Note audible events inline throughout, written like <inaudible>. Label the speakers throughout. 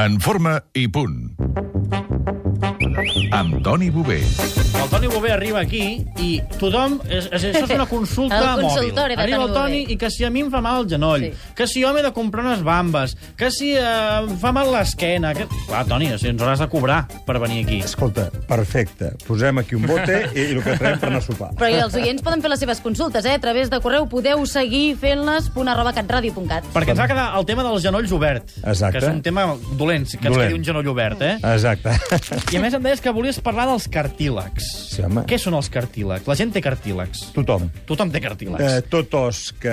Speaker 1: En forma i punt. Amb Toni Bové.
Speaker 2: El Toni Bové arriba aquí i tothom... És, és, això és una consulta
Speaker 3: <laughs> El
Speaker 2: mòbil.
Speaker 3: consultori de
Speaker 2: Arriba el
Speaker 3: Toni
Speaker 2: Toni
Speaker 3: Bové.
Speaker 2: i que si a mi em fa mal el genoll,
Speaker 3: Sí.
Speaker 2: sí. que si jo m'he de comprar unes bambes, que si eh, em fa mal l'esquena... Que... Clar, Toni, o sigui, ens hauràs de cobrar per venir aquí.
Speaker 4: Escolta, perfecte. Posem aquí un bote i, i el que traiem per anar a sopar.
Speaker 3: Però i els oients poden fer les seves consultes, eh? A través de correu podeu seguir fent-les punt arroba catradio.cat.
Speaker 2: Perquè ens va quedar el tema dels genolls obert.
Speaker 4: Exacte.
Speaker 2: Que és un tema dolent, que ens
Speaker 4: Dolent. Ah.
Speaker 2: quedi un genoll obert, eh?
Speaker 4: Exacte. <laughs>
Speaker 2: I a més em deies que volies parlar dels cartílegs.
Speaker 4: Sí, home.
Speaker 2: Què són els cartílegs? La gent té cartílegs.
Speaker 4: Tothom.
Speaker 2: Tothom té cartílegs.
Speaker 4: Eh, tot os que...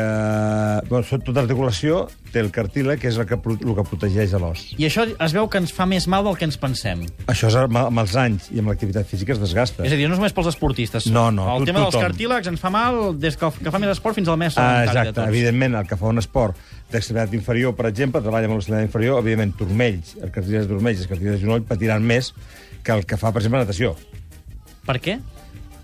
Speaker 4: Bueno, tot- tota articulació té el cartíleg, que és el que, pro- el que protegeix a l'os.
Speaker 2: I això es veu que ens fa més mal del que ens pensem.
Speaker 4: Això és amb, amb els anys i amb l'activitat física es desgasta.
Speaker 2: És a dir, no només pels esportistes.
Speaker 4: No, no,
Speaker 2: El
Speaker 4: tu-
Speaker 2: tema dels
Speaker 4: tothom.
Speaker 2: cartílegs ens fa mal des que, que fa més esport fins al més
Speaker 4: Ah,
Speaker 2: sedentari de
Speaker 4: exacte,
Speaker 2: tots.
Speaker 4: evidentment, el que fa un esport d'extremitat inferior, per exemple, treballa amb l'extremitat inferior, evidentment, turmells, el cartíleg de turmells, el cartíleg de genoll patiran més que el que fa, per exemple, natació.
Speaker 2: Per què?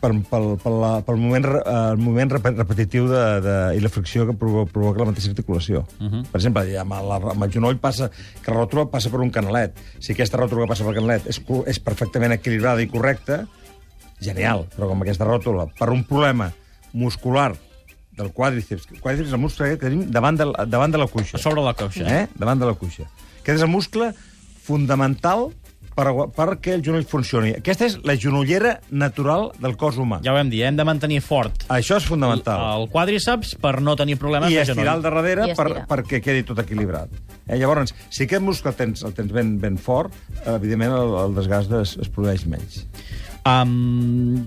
Speaker 4: Per, pel, pel, la, pel moment, re- eh, el moment rep- repetitiu de, de, i la fricció que provo, provoca la mateixa articulació. Uh
Speaker 2: Mhm.
Speaker 4: -huh. Per exemple, amb, la, amb el genoll passa, que la ròtula passa per un canalet. Si aquesta ròtula que passa per canalet és, co- és perfectament equilibrada i correcta, genial, però com aquesta ròtula, per un problema muscular del quàdriceps, quàdriceps és el muscle aquest que tenim davant de, la- davant de la
Speaker 2: A
Speaker 4: cuixa.
Speaker 2: sobre la coixa.
Speaker 4: Eh? Davant de la cuixa. Aquest és el muscle fundamental per, agu- perquè el genoll funcioni. Aquesta és la genollera natural del cos humà.
Speaker 2: Ja ho vam dir, eh? hem de mantenir fort
Speaker 4: Això és fundamental.
Speaker 2: el quadríceps per no tenir problemes
Speaker 4: Ah, I
Speaker 2: de genoll.
Speaker 4: estirar al darrere
Speaker 3: I
Speaker 4: per,
Speaker 3: estirar.
Speaker 4: perquè quedi tot equilibrat. Eh? Llavors, si aquest muscle el tens, el tens ben, ben fort, eh, evidentment el, el desgast es, es produeix menys.
Speaker 2: Um,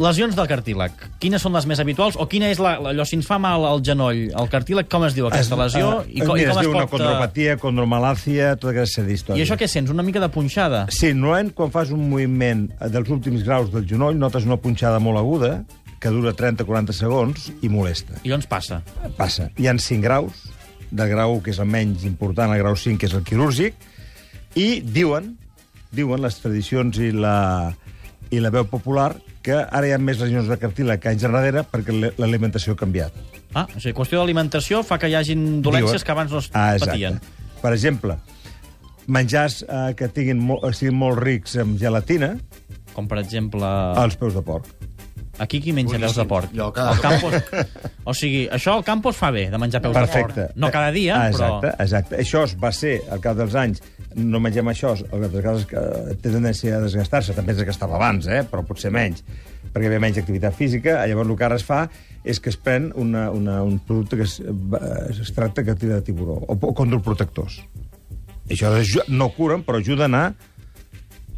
Speaker 2: lesions del cartíleg. Quines són les més habituals? O quina és la, la- allò, si ens fa mal al genoll, el cartíleg, com es diu aquesta lesió?
Speaker 4: eh,
Speaker 2: co-
Speaker 4: mira,
Speaker 2: com
Speaker 4: es diu una
Speaker 2: eh,
Speaker 4: condropatia, condromalàcia, tota aquesta història.
Speaker 2: I això què sents? Una mica de punxada?
Speaker 4: Sí, normalment quan fas un moviment dels últims graus del genoll notes una punxada molt aguda que dura 30-40 segons i molesta.
Speaker 2: I on ens passa?
Speaker 4: Passa. Hi han 5 graus, de grau que és el menys important, el grau 5, que és el quirúrgic, i diuen, diuen les tradicions i la, i la veu popular que ara hi ha més lesions de cartíleg que anys enrere perquè l'e- l'alimentació ha canviat.
Speaker 2: Ah, o sigui, qüestió d'alimentació fa que hi hagin dolències
Speaker 4: Diuen-
Speaker 2: que abans no es
Speaker 4: Ah, exacte.
Speaker 2: patien.
Speaker 4: Per exemple, menjars eh, que tinguin mo siguin molt rics en gelatina,
Speaker 2: Com, per exemple...
Speaker 4: als peus de porc.
Speaker 2: Aquí qui menja peus de porc?
Speaker 5: Jo cada
Speaker 2: El Campos... O sigui, això al Campos fa bé, de menjar peus de
Speaker 4: Perfecte. Eh,
Speaker 2: porc. No cada dia,
Speaker 4: exacte,
Speaker 2: però...
Speaker 4: Exacte, exacte. Això es va ser, al cap dels anys, no mengem això, al cap dels anys eh, té tendència a desgastar-se, també es desgastava abans, eh? però potser menys, perquè hi havia menys activitat física, eh, llavors el que ara es fa és que es pren una, una, un producte que es, eh, s'extracta que tira de tiburó, o, o condroprotectors. Això aju- no curen, però ajuda a anar...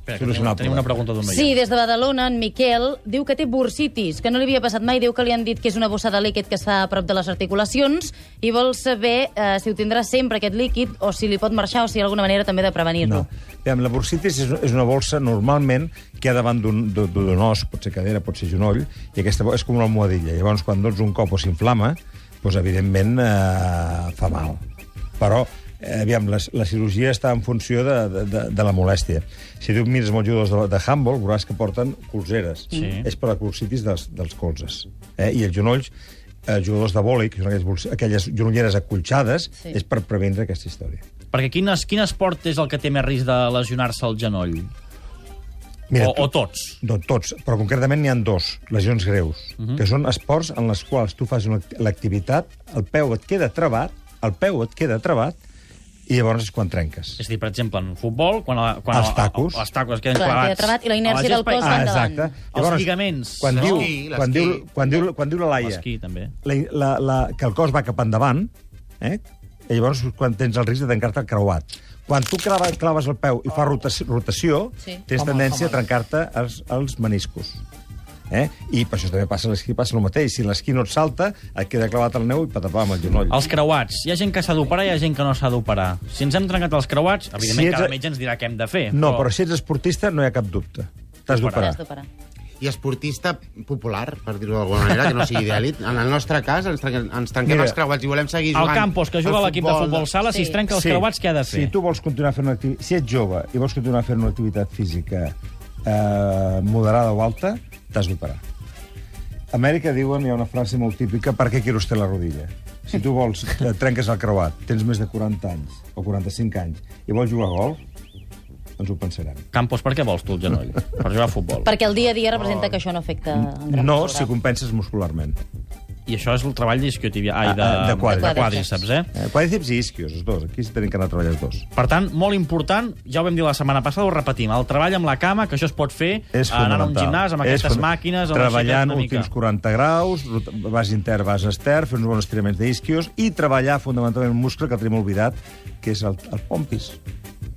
Speaker 2: Espera, que
Speaker 4: Solucionable.
Speaker 2: tenim, tenim una pregunta d'un
Speaker 3: Sí,
Speaker 2: veient.
Speaker 3: des de Badalona, en Miquel diu que té bursitis, que no li havia passat mai, diu que li han dit que és una bossa de líquid que està a prop de les articulacions i vol saber eh, si ho tindrà sempre, aquest líquid, o si li pot marxar, o si hi ha alguna manera també de prevenir-lo.
Speaker 4: No. Veiem, la bursitis és, és una bolsa normalment que hi ha davant d'un d'un- d'un os, pot ser cadera, pot ser genoll, i aquesta bo- és com una almohadilla. Llavors, quan dones un cop o s'inflama, doncs, evidentment eh, fa mal. Però, eh, aviam, la, la cirurgia està en funció de, de, de, de la molèstia. Si tu mires molts jugadors de, de handball, veuràs que porten colzeres.
Speaker 2: Sí.
Speaker 4: És per la bursitis dels, dels colzes. Eh? I els genolls, eh, jugadors de vòlei, que són aquelles, bols- aquelles genolleres acolxades,
Speaker 3: Sí.
Speaker 4: és per previndre aquesta història.
Speaker 2: Perquè quin, es, quin esport és el que té més risc de lesionar-se el genoll? o,
Speaker 4: tu-
Speaker 2: o tots?
Speaker 4: No, tots, però concretament n'hi han dos, lesions greus,
Speaker 2: Mhm.
Speaker 4: uh -huh. que són esports en les quals tu fas una act- l'activitat, el peu et queda trebat, el peu et queda trebat, i llavors és quan trenques.
Speaker 2: És a dir, per exemple, en futbol, quan, la, quan
Speaker 4: Els
Speaker 2: la-
Speaker 4: tacos.
Speaker 2: els tacos queden
Speaker 3: Clar,
Speaker 2: clavats.
Speaker 3: queda trebat i la inèrcia
Speaker 2: A la
Speaker 3: del cos
Speaker 2: gespa- Ah,
Speaker 3: va endavant.
Speaker 4: Ah, exacte.
Speaker 2: Els lligaments.
Speaker 4: Quan, diu,
Speaker 5: L'esquí,
Speaker 4: quan,
Speaker 5: l'esquí.
Speaker 4: diu, quan, diu, quan diu la Laia
Speaker 2: L'esquí, també.
Speaker 4: la, la, la, que el cos va cap endavant, eh? i llavors quan tens el risc de tancar-te el creuat. Quan tu clava, claves el peu i fa rotació, rotació sí.
Speaker 3: Sí.
Speaker 4: tens
Speaker 5: Home,
Speaker 4: tendència
Speaker 5: home.
Speaker 4: a trencar-te els, els meniscos. Eh? I per això també passa a l'esquí, passa el mateix. Si l'esquí no et salta, et queda clavat al neu i patapà amb el genoll.
Speaker 2: Els creuats. Hi ha gent que s'ha d'operar i hi ha gent que no s'ha d'operar. Si ens hem trencat els creuats, evidentment
Speaker 4: Si
Speaker 2: si
Speaker 4: ets-
Speaker 2: cada metge ens dirà què hem de fer.
Speaker 4: No, però si ets esportista no hi ha cap dubte. T'has d'operar.
Speaker 3: Has d'operar.
Speaker 5: I esportista popular, per dir-ho d'alguna manera, que no sigui d'èlit. En el nostre cas, ens trenquem, ens trenquem
Speaker 4: Mira,
Speaker 5: els creuats i volem seguir
Speaker 2: El
Speaker 5: jugant.
Speaker 2: Campos, que juga a
Speaker 5: al
Speaker 2: l'equip de futbol sala, si
Speaker 3: Sí.
Speaker 2: es trenca els creuats, què ha de fer?
Speaker 4: Si tu vols continuar fent una activitat... Si ets jove i vols continuar fent una activitat física eh, moderada o alta, t'has d'operar. A Amèrica, diuen, hi ha una frase molt típica, per què quiero usted la rodilla? Si tu vols, et trenques el creuat, tens més de 40 anys o 45 anys i vols jugar a golf, ens ho pensarem.
Speaker 2: Campos, per què vols tu el genoll? Per jugar a futbol.
Speaker 3: Perquè el dia a dia representa que això no afecta... en gran
Speaker 4: Oh. No
Speaker 3: mesura.
Speaker 4: si compenses muscularment.
Speaker 2: I això és el treball d'isquiotibia... Ai, de,
Speaker 4: Ah, ah, de quadri-
Speaker 2: de quadríceps, eh?
Speaker 4: Eh, quadríceps i isquios, els dos. Aquí s'hi tenen que anar a treballar els dos.
Speaker 2: Per tant, molt important, ja ho vam dir la setmana passada, ho repetim, el treball amb la cama, que això es pot fer eh,
Speaker 4: És
Speaker 2: anant a un
Speaker 4: fonamental.
Speaker 2: gimnàs, amb
Speaker 4: És
Speaker 2: aquestes
Speaker 4: fon-
Speaker 2: màquines... amb
Speaker 4: Treballant
Speaker 2: aixeques una mica.
Speaker 4: últims 40 graus, rot- vas inter, vas ester, fer uns bons estiraments d'isquios i treballar fonamentalment un muscle que el tenim oblidat, que és el, el pompis,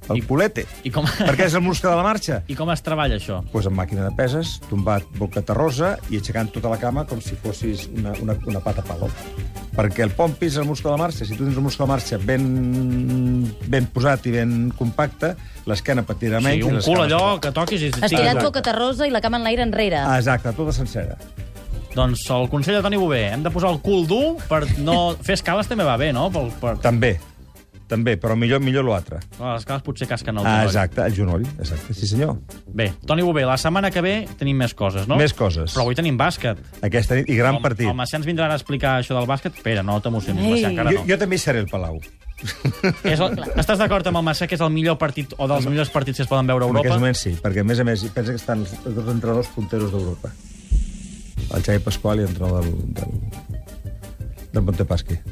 Speaker 4: el
Speaker 2: I-
Speaker 4: I, culete.
Speaker 2: i com-
Speaker 4: Perquè és el muscle de la marxa.
Speaker 2: <laughs> I com es treballa això?
Speaker 4: pues, amb màquina de peses, tombat boca terrosa i aixecant tota la cama com si fossis una, una, una pata palo. Perquè el pompis és el muscle de la marxa. Si tu tens el muscle de la marxa ben, ben posat i ben compacte, l'esquena patirà
Speaker 2: Sí,
Speaker 4: menys. i
Speaker 2: un
Speaker 4: les
Speaker 2: cul
Speaker 4: cames
Speaker 2: allò
Speaker 4: patirà.
Speaker 2: que toquis i...
Speaker 3: Estirat
Speaker 4: Exacte.
Speaker 3: boca terrosa i la cama en l'aire enrere.
Speaker 4: Ah, Exacte, tota sencera.
Speaker 2: Doncs el consell de Toni Bové, hem de posar el cul dur per
Speaker 4: <laughs>
Speaker 2: no... Fer escales també va bé, no? Per, per...
Speaker 4: També, també, però millor millor l'altre.
Speaker 2: Clar, Les escales potser casquen el
Speaker 4: Ah,
Speaker 2: genoll.
Speaker 4: exacte, el genoll, exacte, sí senyor.
Speaker 2: Bé, Toni Bové, la setmana que ve tenim més coses, no?
Speaker 4: Més coses.
Speaker 2: Però avui tenim bàsquet.
Speaker 4: Aquesta nit, i gran
Speaker 2: el,
Speaker 4: partit.
Speaker 2: El Macià ens vindrà a explicar això del bàsquet. Espera, no t'emocionis,
Speaker 3: Ei.
Speaker 2: Macià, encara
Speaker 4: jo,
Speaker 2: no.
Speaker 4: jo també hi seré al Palau.
Speaker 2: És el, estàs d'acord amb el Macià que és el millor partit o dels millors partits que es poden veure a
Speaker 4: En
Speaker 2: Europa?
Speaker 4: aquests moments sí, perquè a més a més pensa que estan els dos entrenadors punteros d'Europa. El Xavi Pasqual i l'entrenador del, del, del Montepasqui.